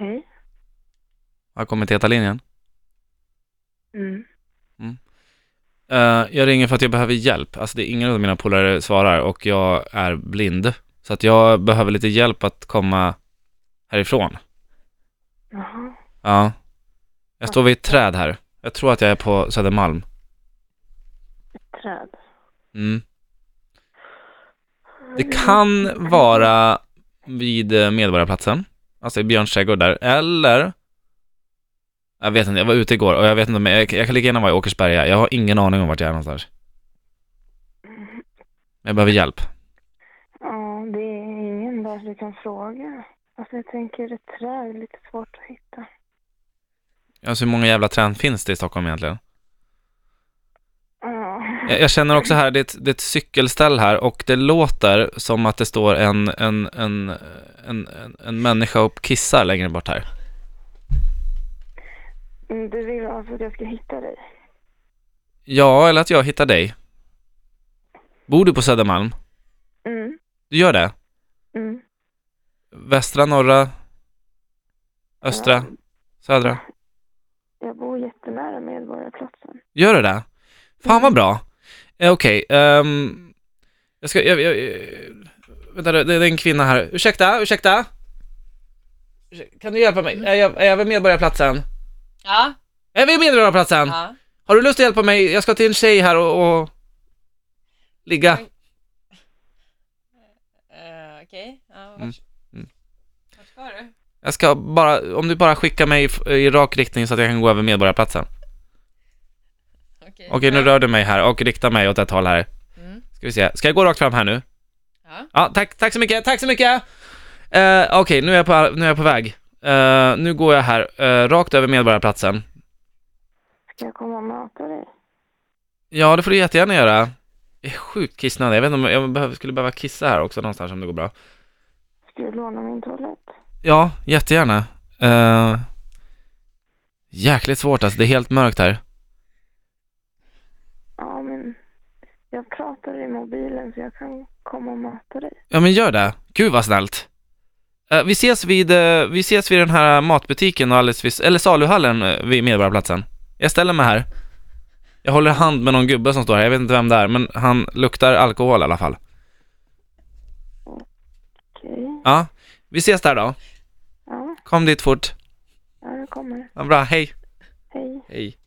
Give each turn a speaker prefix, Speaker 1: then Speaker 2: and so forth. Speaker 1: Mm. Har kommit till Heta linjen.
Speaker 2: Mm.
Speaker 1: Eh, jag ringer för att jag behöver hjälp. Alltså det är ingen av mina polare svarar och jag är blind. Så att jag behöver lite hjälp att komma härifrån.
Speaker 2: Jaha.
Speaker 1: Ja. Jag står vid ett träd här. Jag tror att jag är på Södermalm.
Speaker 2: Träd.
Speaker 1: Mm. Det kan vara vid eh, Medborgarplatsen, alltså i Björns trädgård där, eller jag vet inte, jag var ute igår och jag vet inte, men jag, jag kan lika gärna vara i Åkersberga. Jag har ingen aning om vart jag är någonstans. Men jag behöver hjälp.
Speaker 2: Ja, det är ingen där du kan fråga. Alltså jag tänker ett träd är lite svårt att hitta.
Speaker 1: Alltså hur många jävla träd finns det i Stockholm egentligen?
Speaker 2: Ja.
Speaker 1: Jag, jag känner också här, det är, ett, det är ett cykelställ här och det låter som att det står en, en, en, en, en, en människa och kissar längre bort här.
Speaker 2: Mm, Du vill alltså att jag ska hitta dig?
Speaker 1: Ja, eller att jag hittar dig. Bor du på Södermalm?
Speaker 2: Mm.
Speaker 1: Du gör det?
Speaker 2: Mm.
Speaker 1: Västra, norra, östra,
Speaker 2: Ja,
Speaker 1: södra?
Speaker 2: jag bor jättenära Medborgarplatsen.
Speaker 1: Gör du det? Fan
Speaker 3: Mm.
Speaker 1: vad bra! Eh, Okej, ehm, jag ska, jag, jag, jag, vänta, det det är en kvinna här. Ursäkta, ursäkta! Ursäk- Kan du hjälpa
Speaker 3: Mm.
Speaker 1: mig? Är jag, är jag vid Medborgarplatsen?
Speaker 3: Ja.
Speaker 1: Är jag vid Medborgarplatsen?
Speaker 3: ja.
Speaker 1: Har du lust att hjälpa mig? Jag ska till en tjej här och, och ligga.
Speaker 3: Eh, Okej. Ja, vart,
Speaker 1: Mm. Mm.
Speaker 3: vart ska du?
Speaker 1: Jag ska bara, om du bara skickar mig f- i rak riktning så att jag kan gå över Medborgarplatsen.
Speaker 3: Okej,
Speaker 1: Okej, nu rör du mig här och riktar mig åt ett håll här.
Speaker 3: Mm.
Speaker 1: Ska vi se, ska jag gå rakt fram här nu?
Speaker 3: Ja.
Speaker 1: Ja, tack, tack så mycket, tack så mycket! Eh, Okej, nu, är jag på- nu är jag på väg. Eh, nu går jag här, eh, rakt över Medborgarplatsen.
Speaker 2: Ska jag komma och möta dig?
Speaker 1: Ja, det får du jättegärna göra. Jag är sjukt kissnödig, jag vet inte om jag behöver, skulle behöva kissa här också någonstans om det går bra.
Speaker 2: Ska du låna min toalett?
Speaker 1: Ja, jättegärna. Eh, jäkligt svårt alltså, det är helt mörkt här.
Speaker 2: Ja, men jag pratar i mobilen så jag kan komma och möta dig.
Speaker 1: Ja men gör det. Gud vad snällt. Eh, vi, ses vid, eh, vi ses vid den här matbutiken och alldeles vid, eller saluhallen eh, vid Medborgarplatsen. Jag ställer mig här. Jag håller hand med någon gubbe som står här, jag vet inte vem det är, men han luktar alkohol i alla fall.
Speaker 2: Okej.
Speaker 1: Ja, vi ses där då.
Speaker 2: Ja,
Speaker 1: Kom dit fort.
Speaker 2: ja, jag kommer.
Speaker 1: Ja, bra, hej.
Speaker 2: Hej.
Speaker 1: Hej.